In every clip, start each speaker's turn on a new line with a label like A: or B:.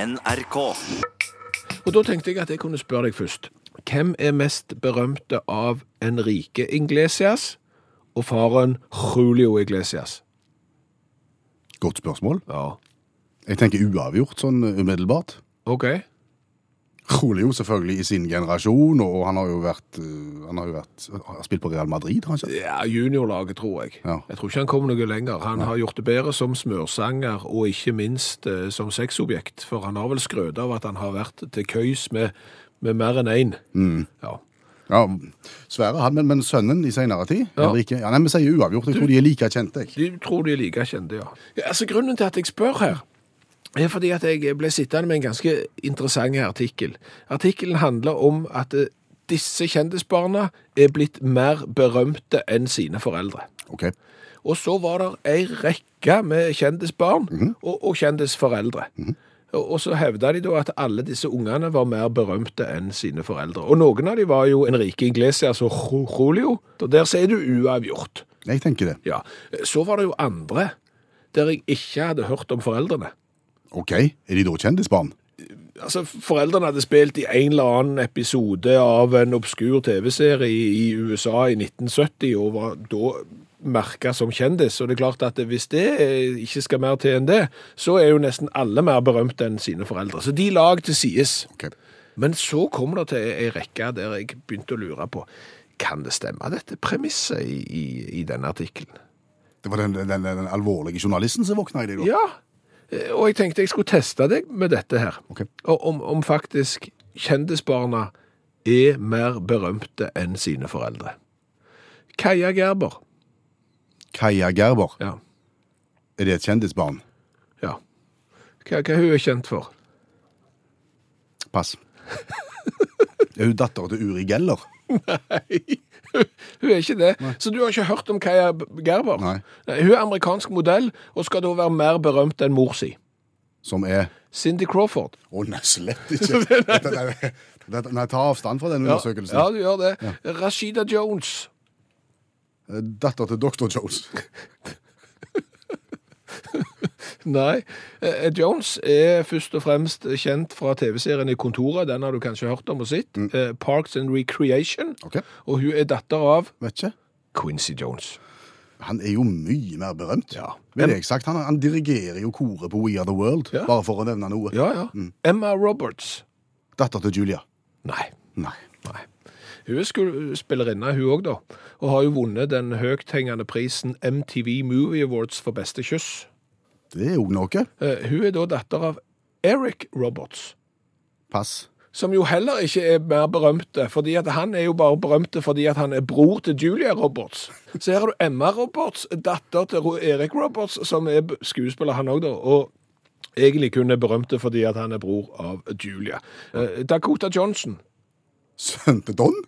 A: NRK.
B: Og da tenkte jeg at jeg kunne spørre deg først. Hvem er mest berømte av Enrique Iglesias og faren Julio Iglesias?
C: Godt spørsmål.
B: Ja.
C: Jeg tenker uavgjort sånn umiddelbart.
B: Ok.
C: Julio selvfølgelig i sin generasjon, og han har jo vært, eh, han har jo vært han har spilt på Real Madrid, har han ikke?
B: Ja, juniorlaget, tror jeg.
C: Ja.
B: Jeg tror ikke han kom noe lenger. Han har gjort det bedre som smørsanger, og ikke minst eh, som sexobjekt, for han har vel skrøt av at han har vært til køys med, med mer enn én. Ja.
C: Ja, Sverre han, men, men sønnen i senere tid?
B: Ja.
C: Henrike, ja, nei, Vi sier uavgjort. Jeg tror de er like kjente, jeg.
B: De tror de er like kjente, ja. ja. Altså, grunnen til at jeg spør her, er fordi at jeg ble sittende med en ganske interessant artikkel. Artikkelen handler om at eh, disse kjendisbarna er blitt mer berømte enn sine foreldre.
C: Ok.
B: Og så var det ei rekke med kjendisbarn og, og kjendisforeldre. Og og så hevda de da at alle disse ungene var mer berømte enn sine foreldre. Og noen av de var jo Enrique Iglesias og Jo- Julio. Og der sier du uavgjort.
C: Jeg tenker det.
B: Ja. Så var det jo andre der jeg ikke hadde hørt om foreldrene.
C: Ok, Er de da kjendisbarn?
B: Altså, Foreldrene hadde spilt i en eller annen episode av en obskur TV-serie i USA i 1970, og var da merka som kjendis. Og det er klart at hvis det eh, ikke skal mer til enn det, så er jo nesten alle mer berømte enn sine foreldre. Så de lag til sides.
C: Ok.
B: Men så kom det til ei rekke der jeg begynte å lure på kan det stemme, dette premisset i, i, i denne artikkelen.
C: Det var den, den, den, den alvorlige journalisten som våkna i deg, da?
B: Ja, eh, og jeg tenkte jeg skulle teste deg med dette her.
C: Ok.
B: Og om, om faktisk kjendisbarna er mer berømte enn sine foreldre. Kaja Gerber.
C: Kaja Gerber,
B: Ja.
C: er det et kjendisbarn?
B: ja. Hva, hva hun er kjent for?
C: Pass. er hun datteren til Uri Geller?
B: Nei, hun er ikke det. Så du har ikke hørt om Kaja Gerber?
C: Nei.
B: Hun er amerikansk modell, og skal da være mer berømt enn mor si.
C: Som er
B: Cindy Crawford.
C: Å, nei, slett ikke! Dette, nei, dette, nei, ta avstand fra den
B: Ja,
C: undersøkelsen.
B: ja du gjør det. Rashida Jones.
C: Eh, Datter til Dr. Jones.
B: Nei. Eh, Jones er først og fremst kjent fra TV-serien I kontoret. Den har du kanskje hørt om og sett. Eh, Parks and Recreation.
C: Ok,
B: Og hun er datter av
C: Vet ikke.
B: Quincy Jones.
C: Han er jo mye mer berømt.
B: Ja.
C: Vil jeg sagt. Han, han dirigerer jo koret på We Are The World,
B: Ja.
C: bare for å nevne noe.
B: Ja, ja. Emma Roberts.
C: Datter til Julia.
B: Nei.
C: Nei.
B: Nei. Hun er skuespillerinne, hun òg, da. Og har jo vunnet den høythengende prisen MTV Movie Awards for beste kyss.
C: Det er jo noe.
B: Eh, Hun er da datter av Eric Roberts.
C: Pass.
B: som jo heller ikke er mer berømte, fordi at han er jo bare berømte fordi at han er bror til Julia Roberts. Så her har du Emma Roberts, datter til Ro- Erik Roberts, som er b- skuespiller han òg, da. og egentlig kun er berømte fordi at han er bror av Julia. Eh, Dakota Johnson.
C: Sønn til Don?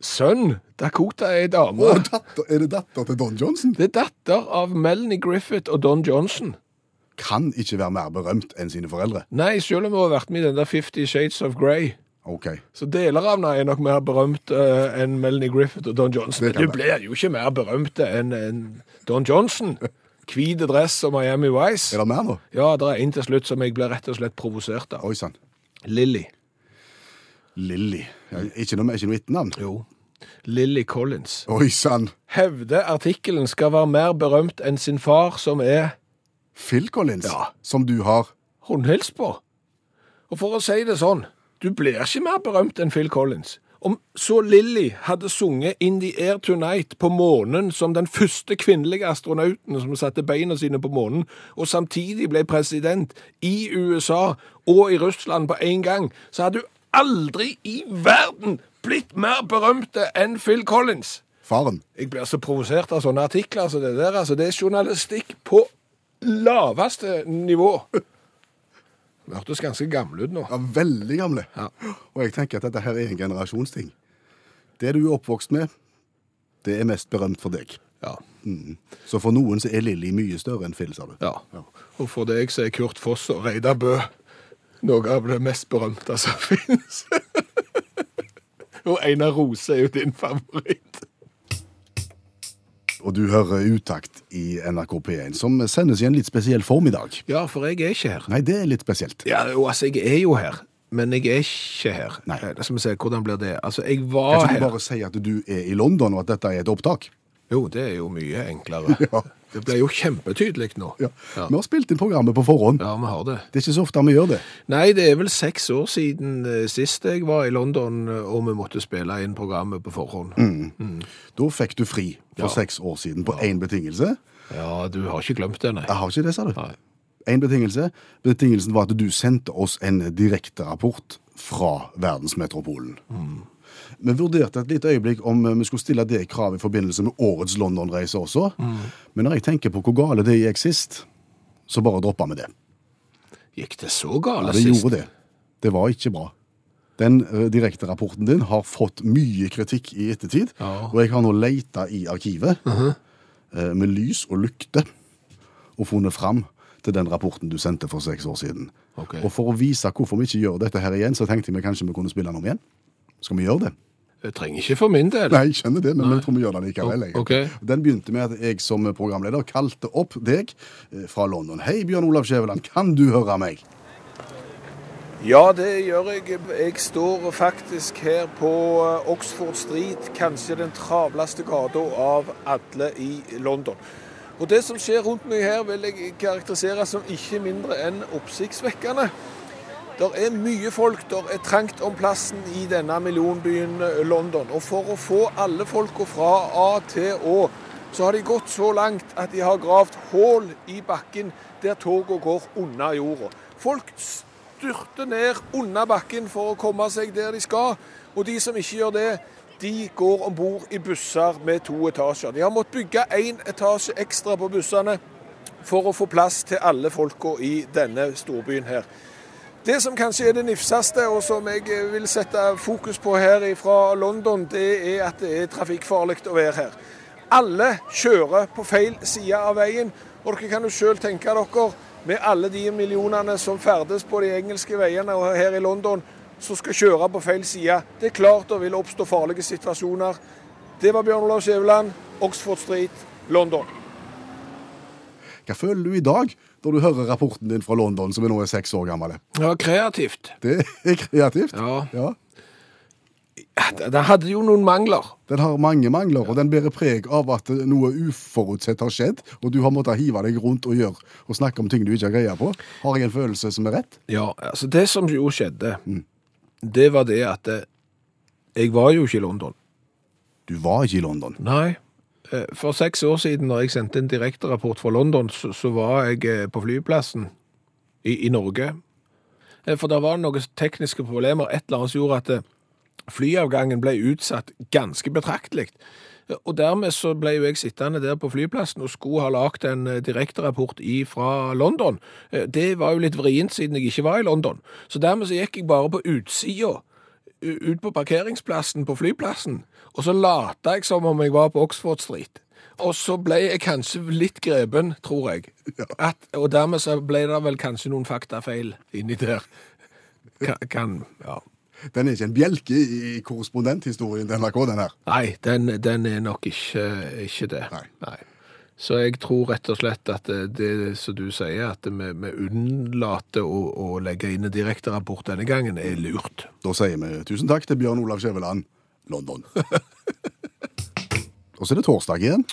B: Sønn Dakota er ei dame.
C: Og datter, er det datter til Don Johnson?
B: Det er datter av Melanie Griffith og Don Johnson.
C: Kan ikke være mer berømt enn sine foreldre.
B: Nei, selv om hun har vært med i den der Fifty Shades of Grey.
C: Ok.
B: Så deler av henne er nok mer berømt eh, enn Melanie Griffith og Don Johnson. Men
C: Det kan
B: du blir jo ikke mer berømt enn enn Don Johnson. Hvite dress og Miami Vice.
C: Er det mer nå?
B: Ja, det er en til slutt som jeg blir rett og slett provosert av.
C: Oi sann.
B: Lilly.
C: Lilly. Ja, ikke noe, ikke noe etternavn?
B: Jo. Lilly Collins.
C: Oi sann.
B: Hevder artikkelen skal være mer berømt enn sin far, som er
C: Phil Collins,
B: Ja.
C: som du har
B: håndhilst på. Og for å si det sånn, du blir ikke mer berømt enn Phil Collins. Om så Lilly hadde sunget In the Air Tonight på månen som den første kvinnelige astronauten som satte beina sine på månen, og samtidig ble president i USA og i Russland på én gang, så hadde hun aldri i verden blitt mer berømte enn Phil Collins.
C: faren.
B: Jeg blir så provosert av sånne artikler som det der. Altså, det er journalistikk på laveste nivå. Det hørtes ganske gammel ut nå.
C: Ja, veldig gamle.
B: Ja.
C: Og jeg tenker at dette her er en generasjonsting. Det du er oppvokst med, det er mest berømt for deg.
B: Ja.
C: Så for noen så er Lilly mye større enn Phil, sa du.
B: ja. Og for deg så er Kurt Foss og Reidar Bø noe av det mest berømte som finnes. og Einar Rose er jo din favoritt.
C: Og du hører utakt i NRK P1, som sendes i en litt spesiell form i dag.
B: Ja, for jeg er ikke her.
C: Nei, det er litt spesielt.
B: Ja, jo, altså, jeg er jo her, men jeg er ikke her.
C: Nei.
B: Eh, Skal vi se, hvordan blir det? Altså, jeg var
C: Kan ikke
B: her.
C: du bare si at du er i London, og at dette er et opptak?
B: Jo, det er jo mye enklere.
C: Ja.
B: Det ble jo kjempetydelig nå.
C: Ja. Vi har spilt inn programmet på forhånd.
B: Ja, vi har det.
C: Det er ikke så ofte vi gjør det.
B: Nei, det er vel seks år siden eh, sist jeg var i London, eh, og vi måtte spille inn programmet på forhånd.
C: Mm. Da fikk du fri
B: Ja.
C: for seks år siden på én betingelse.
B: Ja, du har ikke glemt det, nei.
C: Jeg har ikke det, sa du.
B: Nei.
C: Én betingelse. Betingelsen var at du sendte oss en direkterapport fra verdensmetropolen. Vi vurderte et lite øyeblikk om eh, vi skulle stille det kravet i forbindelse med årets London-reise også. Men når jeg tenker på hvor gale det gikk sist, så bare droppa vi det.
B: Gikk det så galt
C: Ja, det
B: sist?
C: gjorde det. Det var ikke bra. Den eh, direkterapporten din har fått mye kritikk i ettertid,
B: Ja. Uh-huh.
C: og jeg har nå leita i arkivet eh, med lys og lykte og funnet fram til den rapporten du sendte for seks år siden.
B: Ok.
C: Og for å vise hvorfor vi ikke gjør dette her igjen, så tenkte vi kanskje vi kunne spille den om igjen. Skal vi gjøre det?
B: Jeg trenger ikke for min del.
C: Nei, jeg skjønner det, men vi tror vi gjør det likevel. jeg.
B: Ok.
C: Den begynte med at jeg som programleder kalte opp deg eh, fra London. Hei, Bjørn Olav Skjæveland, kan du høre meg?
B: Ja, det gjør jeg. Jeg står faktisk her på eh, Oxford Street, kanskje den travleste gata av alle i London. Og det som skjer rundt meg her, vil jeg karakterisere som ikke mindre enn oppsiktsvekkende. Der er mye folk, der er trangt om plassen i denne millionbyen eh, London. Og for å få alle folka fra A til Å, så har de gått så langt at de har gravd hull i bakken der toga går under jorda. Folk styrter ned under bakken for å komme seg der de skal, og de som ikke gjør det, de går om bord i busser med to etasjer. De har måttet bygge én etasje ekstra på bussene for å få plass til alle folka i denne storbyen her. Det som kanskje er det nifseste, og som jeg eh, vil sette fokus på her fra London, det er at det er trafikkfarlig å være her. Alle kjører på feil side av veien, og dere kan jo sjøl tenke dere, med alle de millionene som ferdes på de engelske veiene og her i London, som skal kjøre på feil side. Det er klart det vil oppstå farlige situasjoner. Det var Bjørn Olav Skjæveland, Oxford Street, London.
C: Hva føler du i dag når du hører rapporten din fra London, som er nå er seks år gammel?
B: Ja, kreativt.
C: Det er kreativt.
B: Ja.
C: Ja.
B: Den hadde jo noen mangler.
C: Den har mange mangler, og den bærer preg av at noe uforutsett har skjedd, og du har måttet hive deg rundt og gjøre og snakke om ting du ikke har greie på. Har jeg en følelse som er rett?
B: Ja, altså det som jo skjedde,
C: Mm.
B: det var det at eh, jeg var jo ikke i London.
C: Du var ikke i London.
B: Nei. Eh, For seks år siden, når jeg sendte en direkterapport fra London, så, så var jeg eh, på flyplassen i, i Norge. Eh, For der var det noen tekniske problemer, et eller annet som gjorde at eh, flyavgangen ble utsatt ganske betraktelig. Eh, Og dermed så ble jo jeg sittende der på flyplassen og skulle ha lagt en eh, direkterapport fra London. Eh, Det var jo litt vrient siden jeg ikke var i London. Så dermed så gikk jeg bare på utsida, u- ut på parkeringsplassen på flyplassen, og så lata jeg som om jeg var på Oxford Street. Og så ble jeg kanskje litt greben, tror jeg. At, og dermed så ble det vel kanskje noen faktafeil inni der. Kan, kan ja.
C: Den er ikke en bjelke i i korrespondenthistorien til NRK, den her.
B: Nei, den, den er nok ikke, ikke det.
C: Nei.
B: Så jeg tror rett og slett at det, det som du sier, at vi, vi unnlater å, å legge inn en direkterapport denne gangen, er lurt.
C: Da sier vi tusen takk til Bjørn Olav Skjæveland, London. og så er det torsdag igjen.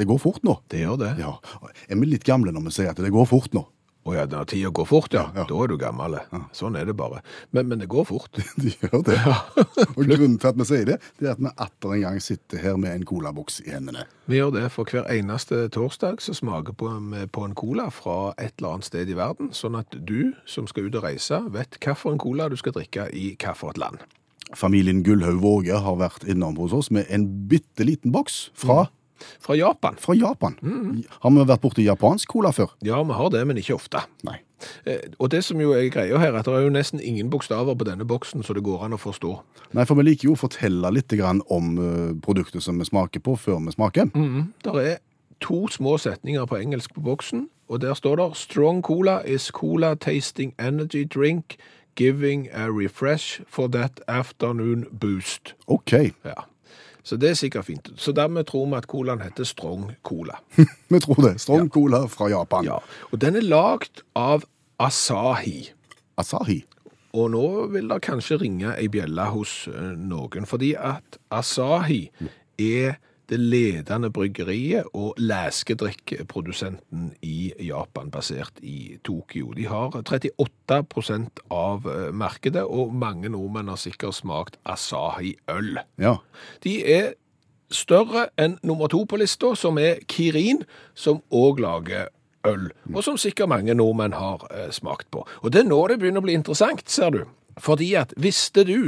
C: Det går fort nå.
B: Det gjør det. Å ja,
C: Ja. Er vi litt gamle når vi sier at det går fort nå?
B: når tida går fort, ja.
C: Ja, ja.
B: Da er du gammel. Sånn er det bare. Men, men det går fort.
C: De gjør det. Og grunnen til at vi sier det, det er at vi atter en gang sitter her med en colaboks i hendene.
B: Vi gjør det for hver eneste torsdag, så smaker på, vi på en cola fra et eller annet sted i verden, sånn at du som skal ut og reise, vet hvilken cola du skal drikke i hvilket land.
C: Familien Gullhaug Våge har vært innom hos oss med en bitte liten boks fra,
B: Mm. Fra Japan.
C: fra Japan.
B: Mm.
C: Har vi vært borti japansk cola før?
B: Ja, vi har det, men ikke ofte.
C: Nei.
B: Eh, Og det som jo er greia her, at det er jo nesten ingen bokstaver på denne boksen, så det går an å forstå.
C: Nei, for vi liker jo å fortelle litt grann om eh, produktet som vi smaker på, før vi smaker.
B: Der er to små setninger på engelsk på boksen, og der står det «Strong cola is cola tasting energy drink, giving a refresh for that afternoon boost».
C: OK.
B: Ja. Så det er sikkert fint. Så dermed tror vi at colaen heter Strong Cola.
C: Vi tror det. Strong cola fra Japan.
B: Ja. Og den er lagd av Asahi.
C: Asahi.
B: Og nå vil det kanskje ringe ei bjelle hos eh, noen, fordi at Asahi er det ledende bryggeriet og leskedrikkprodusenten i Japan, basert i Tokyo. De har 38 av eh, markedet, og mange nordmenn har sikkert smakt Asahi-øl.
C: Ja.
B: De er større enn nummer to på lista, som er Kirin, som òg lager øl. Og som sikkert mange nordmenn har eh, smakt på. Og det er nå det begynner å bli interessant, ser du. Fordi at visste du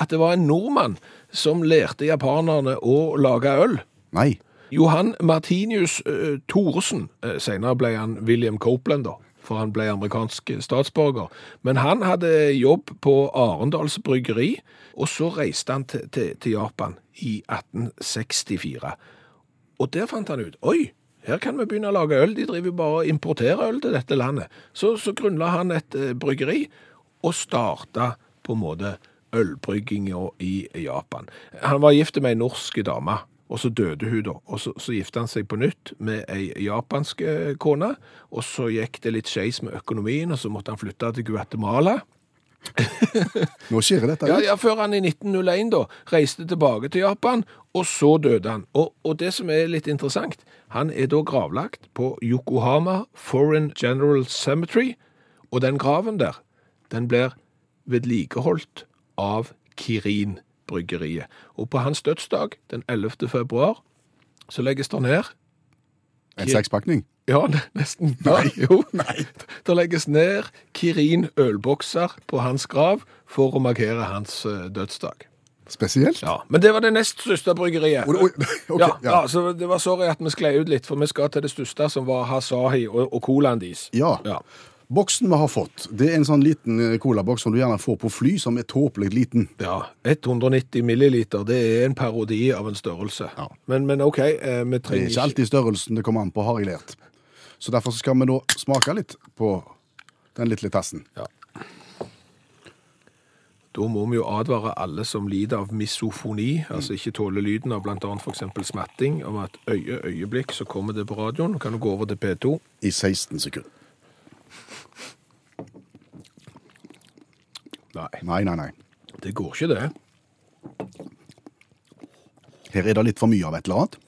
B: at det var en nordmann som lærte japanerne å lage øl?
C: Nei.
B: Johan Martinius eh, Thoresen, eh, senere ble han William Copeland da, for han ble amerikansk statsborger, men han hadde jobb på Arendals bryggeri, og så reiste han til, til, til Japan i 1864. Og der fant han ut, oi, her kan vi begynne å lage øl, de driver jo bare og importerer øl til dette landet. Så, så grunnla han et eh, bryggeri, og starta på en måte ølbrygginga i Japan. Han var gift med ei norsk dame, og så døde hun da. Og så, så gifta han seg på nytt med ei japansk eh, kone, og så gikk det litt skeis med økonomien, og så måtte han flytte til Guatemala.
C: Nå skjer dette
B: Ja,
C: ut.
B: ja, Før han i 1901 da, reiste tilbake til Japan, og så døde han. Og, og det som er litt interessant, han er da gravlagt på Yokohama Foreign General Cemetery, og den graven der, den blir vedlikeholdt av Kirin-bryggeriet. Og på hans dødsdag, den 11. februar, så legges det ned
C: En sekspakning.
B: ja, ne- nesten. Nei, jo. Det legges ned Kirin ølbokser på hans grav for å markere hans eh, dødsdag.
C: Spesielt.
B: Ja, Men det var det nest største bryggeriet.
C: Oi, oi, ok,
B: ja, ja.
C: ja.
B: så Det var sorry at vi sklei ut litt, for vi skal til det største, som var Hasahi og, og colaen deres.
C: Ja.
B: Ja.
C: Boksen vi har fått, det er en sånn liten eh, colaboks som du gjerne får på fly, som er tåpelig liten.
B: Ja, 190 milliliter, det er en parodi av en størrelse.
C: Ja.
B: Men, men OK, eh, vi
C: Det
B: trenger
C: er ikke alltid størrelsen det kommer an på, har jeg lært. Så derfor skal vi nå smake litt på den lille tassen.
B: Da må vi jo advare alle som lider av misofoni, altså ikke tåler lyden av bl.a. f.eks. smatting, om at øye, øyeblikk, så kommer det på radioen. Nå kan du gå over til P2.
C: I 16 sekunder.
B: Nei,
C: Nei, nei, nei.
B: det går ikke, det.
C: Her er det litt for mye av et eller annet.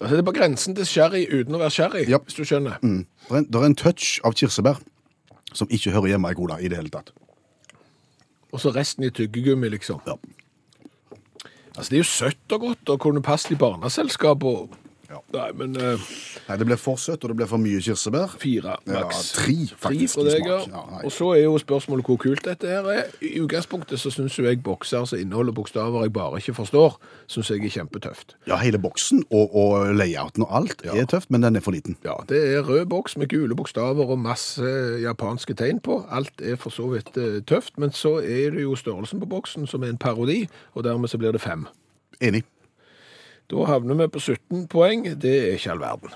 B: Altså, Det er på grensen til sherry uten å være sherry,
C: Ja.
B: hvis du skjønner.
C: Mm. Det er en- det er en touch av kirsebær som ikke hører hjemme i cola i det hele tatt.
B: Og så resten i tyggegummi, liksom.
C: Ja.
B: Altså, Det er jo søtt og godt og kunne passet i barneselskap og
C: Ja.
B: Nei, men eh,
C: Nei, det ble for søtt, og det ble for mye kirsebær.
B: fire
C: Ja,
B: maks.
C: tre, faktisk,
B: fra
C: i
B: deg, ja.
C: smak. Ja, nei.
B: og så er jo spørsmålet hvor kult dette her er. I utgangspunktet så syns jo jeg bokser som inneholder bokstaver jeg bare ikke forstår, syns jeg er kjempetøft.
C: Ja, hele boksen og, og layouten og alt er tøft, men den er for liten.
B: Ja, det er rød boks med gule bokstaver og masse japanske tegn på. Alt er for så vidt eh, tøft, men så er det jo størrelsen på boksen som er en parodi, og dermed så blir det fem.
C: Enig.
B: Da havner vi på 17 poeng. Det er ikke all verden.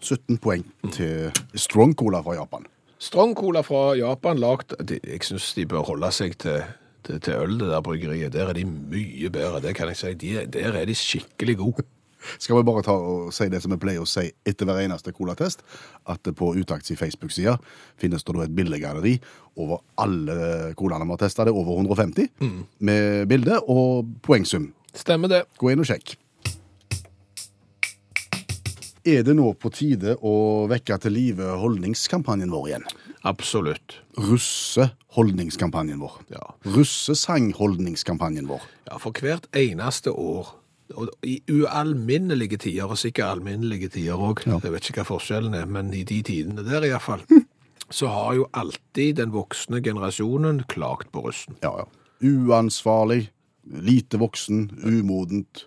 C: 17 poeng til strong cola fra Japan.
B: Strong Cola fra Japan lagt de- Jeg syns de bør holde seg til, til, til øl, det der bryggeriet. Der er de mye bedre, det kan jeg si. De, er- der er de skikkelig gode.
C: Skal vi bare ta og si det som vi pleier å si etter hver eneste colatest, at det på Utakts Facebook-sida finnes det da et bildegalleri over alle colaene vi har testa. Det er over 150 med bilde og poengsum.
B: Stemmer det.
C: Gå inn og sjekk. Er det nå på tide å vekke til live holdningskampanjen vår igjen?
B: Absolutt.
C: Russeholdningskampanjen vår.
B: Ja.
C: Russesangholdningskampanjen vår.
B: Ja, for hvert eneste år, og i ualminnelige tider, og sikkert alminnelige tider òg, jeg vet ikke hva forskjellen er, men i de tidene der iallfall, så har jo alltid den voksne generasjonen klagt på russen.
C: Ja, ja. Uansvarlig, lite voksen, umodent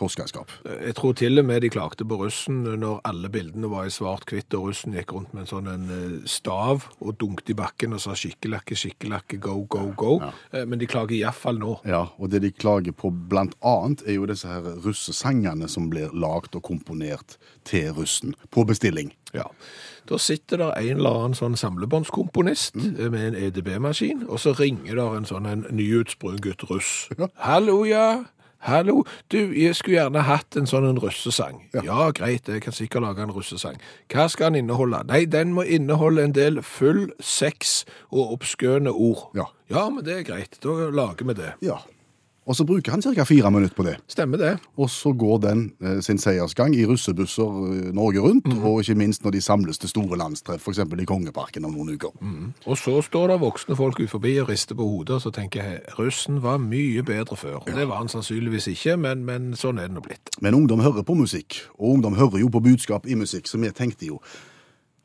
C: torskeskap.
B: Jeg tror til og med de klagde på russen når alle bildene var i svart-hvitt, og russen gikk rundt med en sånn en eh, stav og dunket i bakken og sa 'skikkelakke, skikkelakke, go, go, go'. Eh, Men de klager iallfall nå.
C: Ja, og det de klager på blant annet er jo disse her russesangene som blir lagt og komponert til russen på bestilling.
B: Ja. Da sitter der en eller annen sånn samlebåndskomponist eh, med en EDB-maskin, og så ringer der en sånn en nyutsprunget russ. Hallo, ja. Hallo, du, jeg skulle gjerne hatt en sånn en russesang. Ja. greit, jeg kan sikkert lage en russesang. Hva skal den inneholde? Nei, den må inneholde en del full sex og oppskøne ord.
C: Ja.
B: ja, men det er greit. Da lager vi det.
C: Ja. Og så bruker han ca. fire minutter på det.
B: Stemmer det.
C: Og så går den eh, sin seiersgang i russebusser eh, Norge rundt, og ikke minst når de samles til store landstreff, f.eks. i Kongeparken om noen uker.
B: Og så står det voksne folk ut forbi og rister på hodet, og så tenker jeg, russen var mye bedre før. Det var han sannsynligvis ikke, men, men sånn er det nå blitt.
C: Men ungdom hører på musikk, og ungdom hører jo på budskap i musikk, så vi tenkte jo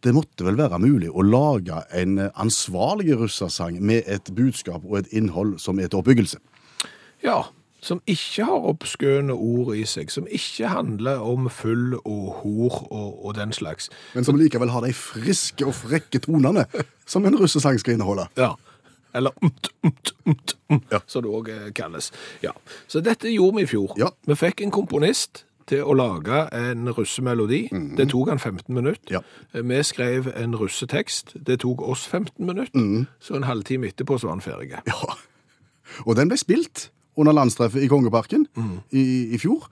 C: det måtte vel være mulig å lage en eh, ansvarlig russesang med et budskap og et innhold som er til oppbyggelse.
B: Ja, som ikke har oppskøne ord i seg, som ikke handler om full og hor og, og den slags.
C: Men som likevel har de friske og frekke tonene som en russesang skal inneholde.
B: Ja. Eller um, umt, umt, umt, umt, um, som det òg kalles. Ja. Så dette gjorde vi i fjor.
C: Ja.
B: Vi fikk en komponist til å lage en russemelodi. Det tok han 15 minutter.
C: Mhm. Ja.
B: Vi skrev en russetekst. Det tok oss 15 minutter.
C: Mhm.
B: Så en halvtime etterpå så var han ferdig.
C: Ja. Og den ble spilt under landstreffet i Kongeparken i, i fjor.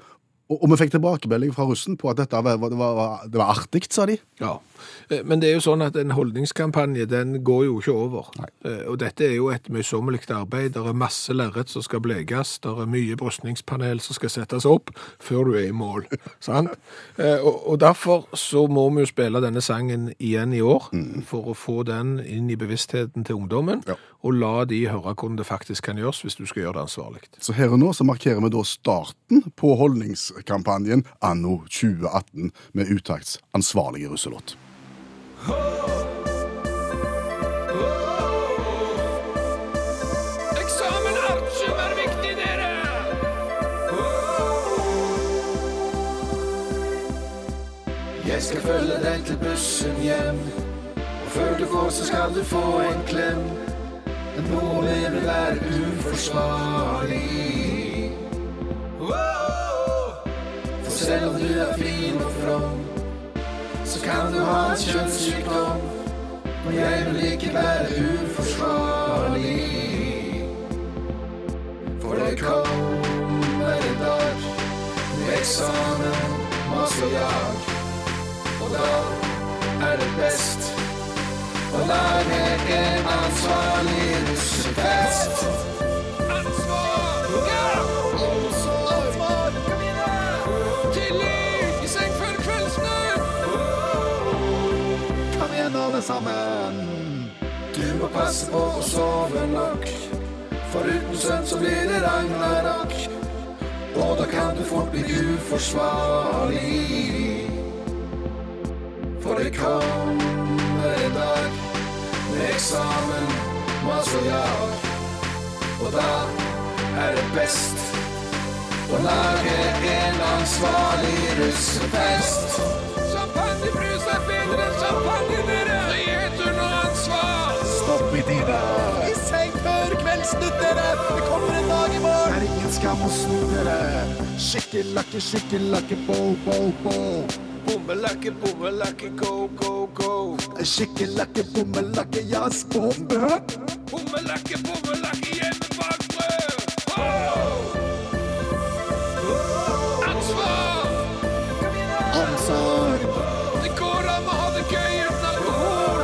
C: Og, og vi fikk tilbakemelding fra russen på at dette var, var, var, det var artig, sa de.
B: Ja, Eh, men det er jo sånn at en holdningskampanje, den går jo ikke over. Eh, Og dette er jo et møysommelig arbeid. Der er masse lerret som skal blekes, der er mye brystningspanel som skal settes opp før du er i mål. sant? Eh, Og, og derfor så må vi jo spille denne sangen igjen i år, for å få den inn i bevisstheten til ungdommen,
C: Ja.
B: og la de høre hvordan det faktisk kan gjøres hvis du skal gjøre det ansvarlig.
C: Så her og nå så markerer vi da starten på holdningskampanjen anno 2018 med Utakts ansvarlige russelåt.
A: Eksamen artium er viktig, dere!
B: Jeg skal følge deg til bussen hjem Og før du går så skal du få en klem Men nå vil det være uforsvarlig For selv om du er fin og from Så kan du ha en kjønnssykdom Men jeg vil ikke være uforsvarlig For det kommer en dag Med eksamen, masse jag og da er det best å lage en ansvarlig russefest.
A: Ansvar! Ja! Ansvar! Kom igjen, da! Tillit! I seng før kveldsnytt!
B: Kom igjen, alle sammen. Du må passe på å sove nok. For uten søvn så blir det ragnarok. Og da kan du fort bli uforsvarlig. For det kommer en dag med eksamen, mas og jag. Og da er det best å lage en ansvarlig russefest.
A: Champagnebrus er bedre enn champagne, dere! Frihet under ansvar!
B: Stopp i tida.
A: I seng før kveldsnytt, dere! Det kommer en dag i morgen!
B: er ingen skam å snu dere. Skikkelakke, skikkelakke, bo, bo, bo.
A: Bommelakke, bommelakke, go, go, go.
B: Skikkelakke, bommelakke, ja, spåmbø.
A: Bommelakke, bommelakke, hjemme bak brød. Oh! Ansvar!
B: Omsorg.
A: Det går an å ha det gøy uten alkohol.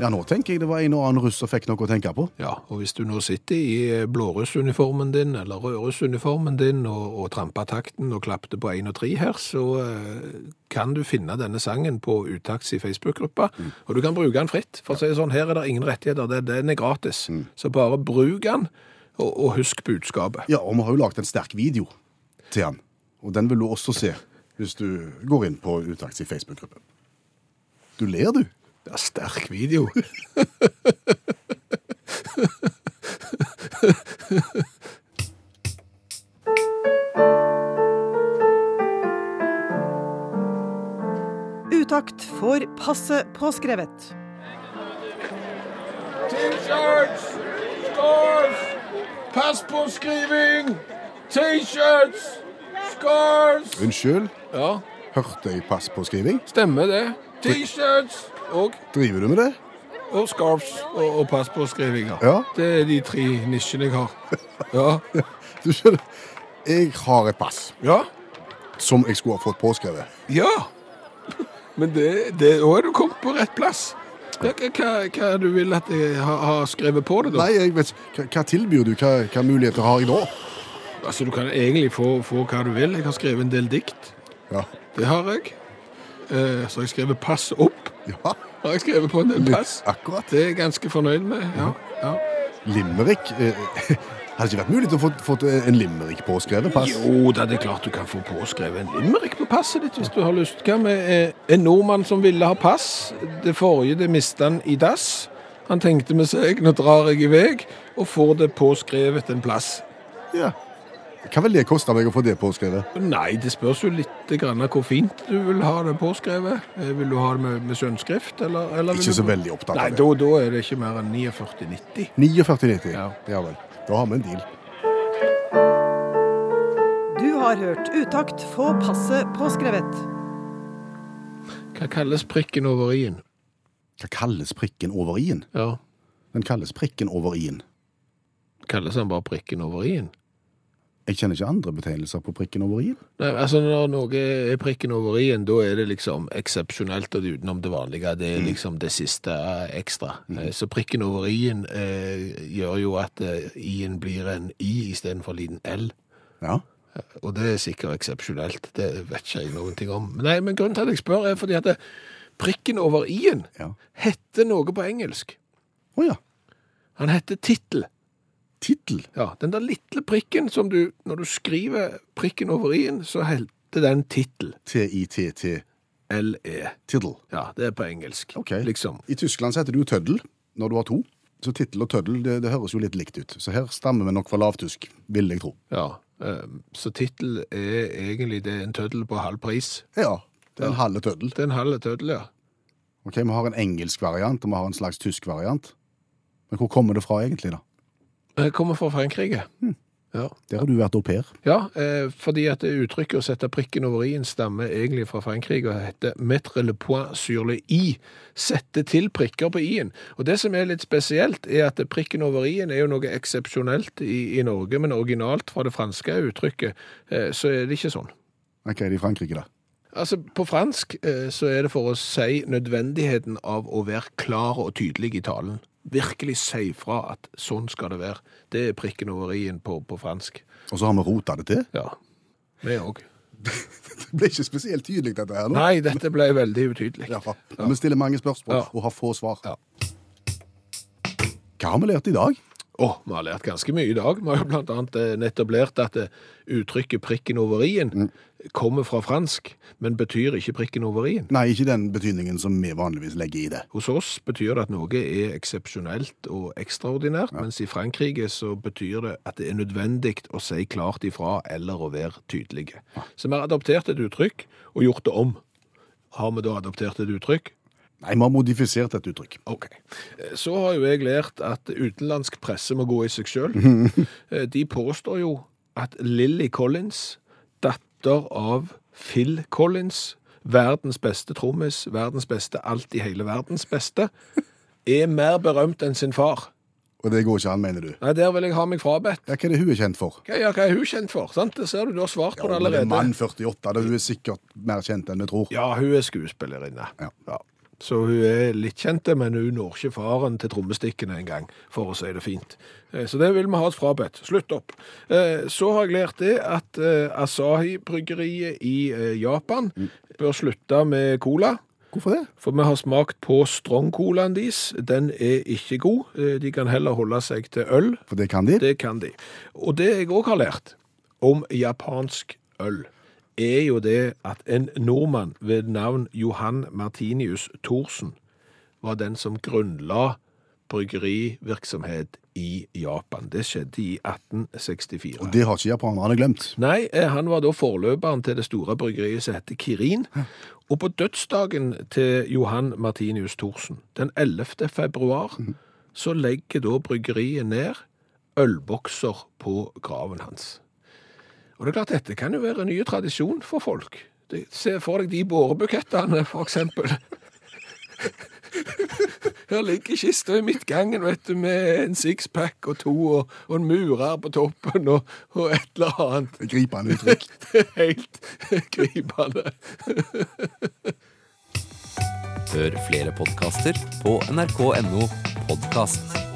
C: Ja, nå tenker jeg det var en og annen russ som fikk noe å tenke på.
B: Ja, og hvis du nå sitter i blårussuniformen din, eller rødrussuniformen din, og, og trampa takten og klappte på 1 og 3 her, så eh, kan du finne denne sangen på Utakts i Facebook-gruppa, og du kan bruke den fritt. For å si det sånn, her er det ingen rettigheter, det- den er gratis. Så bare bruk den, og, og husk budskapet.
C: Ja, og vi har jo laget en sterk video til han. Og den vil du også se hvis du går inn på Utakts i Facebook-gruppe. Du ler, du.
B: Det er sterk video.
D: Utakt får passe påskrevet.
B: T-shirts! Scarf! Pass på skriving! T-shirts! Scarves!
C: Unnskyld,
B: Ja,
C: hørte jeg pass på skriving?
B: stemmer det. T-shirts og,
C: Driver du med det?
B: og scarves og, og passpåskrivinger.
C: Ja.
B: Det er de tre nisjene jeg har. Ja.
C: Du skjønner, jeg har et pass
B: ja.
C: som jeg skulle ha fått påskrevet.
B: ja. Men det, det, da er du kommet på rett plass. Hva, hva, hva du vil at jeg har har skrevet på det, da?
C: Nei, jeg vet ikke. Hva, hva tilbyr du? Hva, hva muligheter har jeg da?
B: Altså, Du kan egentlig få, få hva du vil. Jeg har skrevet en del dikt.
C: Ja.
B: Det har jeg. Eh, så har jeg skrevet 'pass opp'.
C: ja.
B: Har jeg skrevet på en del
C: Litt
B: pass.
C: akkurat.
B: Det er jeg ganske fornøyd med. ja. ja.
C: Limerick? eh, Hadde det ikke vært mulig til å få fått eh, en limerick påskrevet pass?
B: Jo da, det er klart du kan få påskrevet en limerick på passet ditt hvis du har lyst. Hva med eh, en nordmann som ville ha pass? Det forrige det mista han i dass. Han tenkte med seg nå drar jeg i vei og får det påskrevet en plass.
C: Ja. Hva vil det koste meg å få det påskrevet?
B: Nei, det spørs jo litt grann hvor fint du vil ha det påskrevet. Eh, Vil du ha det med, med sønnskrift, eller, eller vil
C: Ikke
B: du...
C: så veldig opptatt
B: Nei,
C: av det.
B: da, da er det ikke mer enn 49,90.
C: 49,90.
B: Ja.
C: Ja vel. Da har vi en deal.
D: Du har hørt Utakt få passet påskrevet.
B: Hva kalles prikken over i-en?
C: Hva kalles prikken over i-en?
B: Ja,
C: Den kalles prikken over i-en.
B: kalles den bare prikken over i-en?
C: Jeg kjenner ikke andre betegnelser på prikken over i-en.
B: Nei, altså Når noe er prikken over i-en, da er det liksom eksepsjonelt og det er utenom det vanlige. Det er liksom det siste eh, ekstra. Eh, Så prikken over i-en eh, gjør jo at eh, i-en blir en i istedenfor en liten l.
C: Ja.
B: Og det er sikkert eksepsjonelt. Det vet ikke jeg noen ting om. Men Nei, men Grunnen til at jeg spør, er fordi at det- prikken over i-en
C: Ja.
B: heter noe på engelsk.
C: Å ja.
B: Han heter tittel.
C: Tittel.
B: Ja, Den der lille prikken som du Når du skriver prikken over i-en, så heter den tittel. E.
C: T-i-t-t.
B: L-e.
C: Tiddel.
B: Ja, det er på engelsk.
C: Ok.
B: Liksom.
C: I Tyskland så heter det jo tøddel når du har to. Så tittel og tøddel det, det høres jo litt likt ut. Så her stammer vi nok fra lavtysk, vil jeg tro.
B: Ja. ehm, Så tittel er egentlig det er en tøddel på halv pris.
C: Ja. Det er en halve tøddel.
B: Det er en halv tøddel, ja.
C: Ok, Vi har en engelsk variant, og vi har en slags tysk variant. Men hvor kommer det fra egentlig, da?
B: Jeg kommer fra Frankrike. Ja.
C: Der har du vært au pair.
B: ja, eh, fordi at det uttrykket å sette prikken over i-en stammer egentlig fra Frankrike og heter mettre le point sur le i. Sette til prikker på i-en. Og det som er litt spesielt, er at prikken over i-en er jo noe eksepsjonelt i, i Norge, men originalt fra det franske uttrykket, eh, så er det ikke sånn.
C: Ok, det er i Frankrike, da.
B: Altså, På fransk eh, så er det for å si nødvendigheten av å være klar og tydelig i talen. Virkelig si fra at sånn skal det være. Det er prikken over i-en på, på fransk.
C: Og så har vi rota det til.
B: Ja. Vi òg.
C: Det ble ikke spesielt tydelig, dette her. nå.
B: Nei, dette ble veldig utydelig.
C: Ja. Vi stiller mange spørsmål
B: Ja.
C: og har få svar.
B: Ja.
C: Hva har vi lært i dag?
B: Å, vi har lært ganske mye i dag. Vi har jo blant annet eh, nettopp lært at eh, uttrykket prikken over i-en kommer fra fransk, men betyr ikke prikken over i-en.
C: Nei, ikke den betydningen som vi vanligvis legger i det.
B: Hos oss betyr det at noe er eksepsjonelt og ekstraordinært, mens i Frankrike så betyr det at det er nødvendig å si klart ifra eller å være tydelige. Så vi har adoptert et uttrykk og gjort det om. Har vi da adoptert et uttrykk?
C: Nei, vi har modifisert et uttrykk.
B: Ok. Eh, Så har jo jeg lært at utenlandsk presse må gå i seg sjøl. De påstår jo at Lilly Collins, datter av Phil Collins, verdens beste trommis, verdens beste alt i hele verdens beste, er mer berømt enn sin far.
C: Og det går ikke an, mener du?
B: Nei, der vil jeg ha meg frabedt.
C: Ja, Hva er det hun er kjent for?
B: Hva, ja, hva er hun kjent for? Sant? Det ser du, du har svart på
C: Ja,
B: det
C: hun er
B: allerede.
C: Mann 48, da hun er sikkert mer kjent enn vi tror.
B: Ja, hun er skuespillerinne.
C: Ja.
B: Ja. Så hun er litt kjente, men hun når ikke faren til trommestikkene engang, for å si det fint. Eh, Så det vil vi ha et frabedt. Slutt opp. Eh, Så har jeg lært det at eh, Asahi-bryggeriet i eh, Japan bør slutte med cola.
C: Hvorfor det?
B: For vi har smakt på strong-colaen deres. Den er ikke god. Eh, De kan heller holde seg til øl.
C: For det kan de.
B: Det kan de. Og det jeg òg har lært om japansk øl, er jo det at en nordmann ved navn Johan Martinius Thorsen var den som grunnla bryggerivirksomhet i Japan. Det skjedde i 1864.
C: Og det har ikke japanerne glemt.
B: Nei, eh, han var da forløperen til det store bryggeriet som heter Kirin. Og på dødsdagen til Johan Martinius Thorsen, den 11. februar, så legger da bryggeriet ned ølbokser på graven hans. Og det er klart, dette kan jo være en ny tradisjon for folk. Det- Se for deg de bårebukettene, for eksempel. Her ligger kista i midtgangen, vet du, med en sixpack og to, og, og en murer på toppen, og, og et eller annet.
C: Gripende uttrykk.
B: Det er helt gripende.
E: Hør flere podkaster på nrk.no podkast.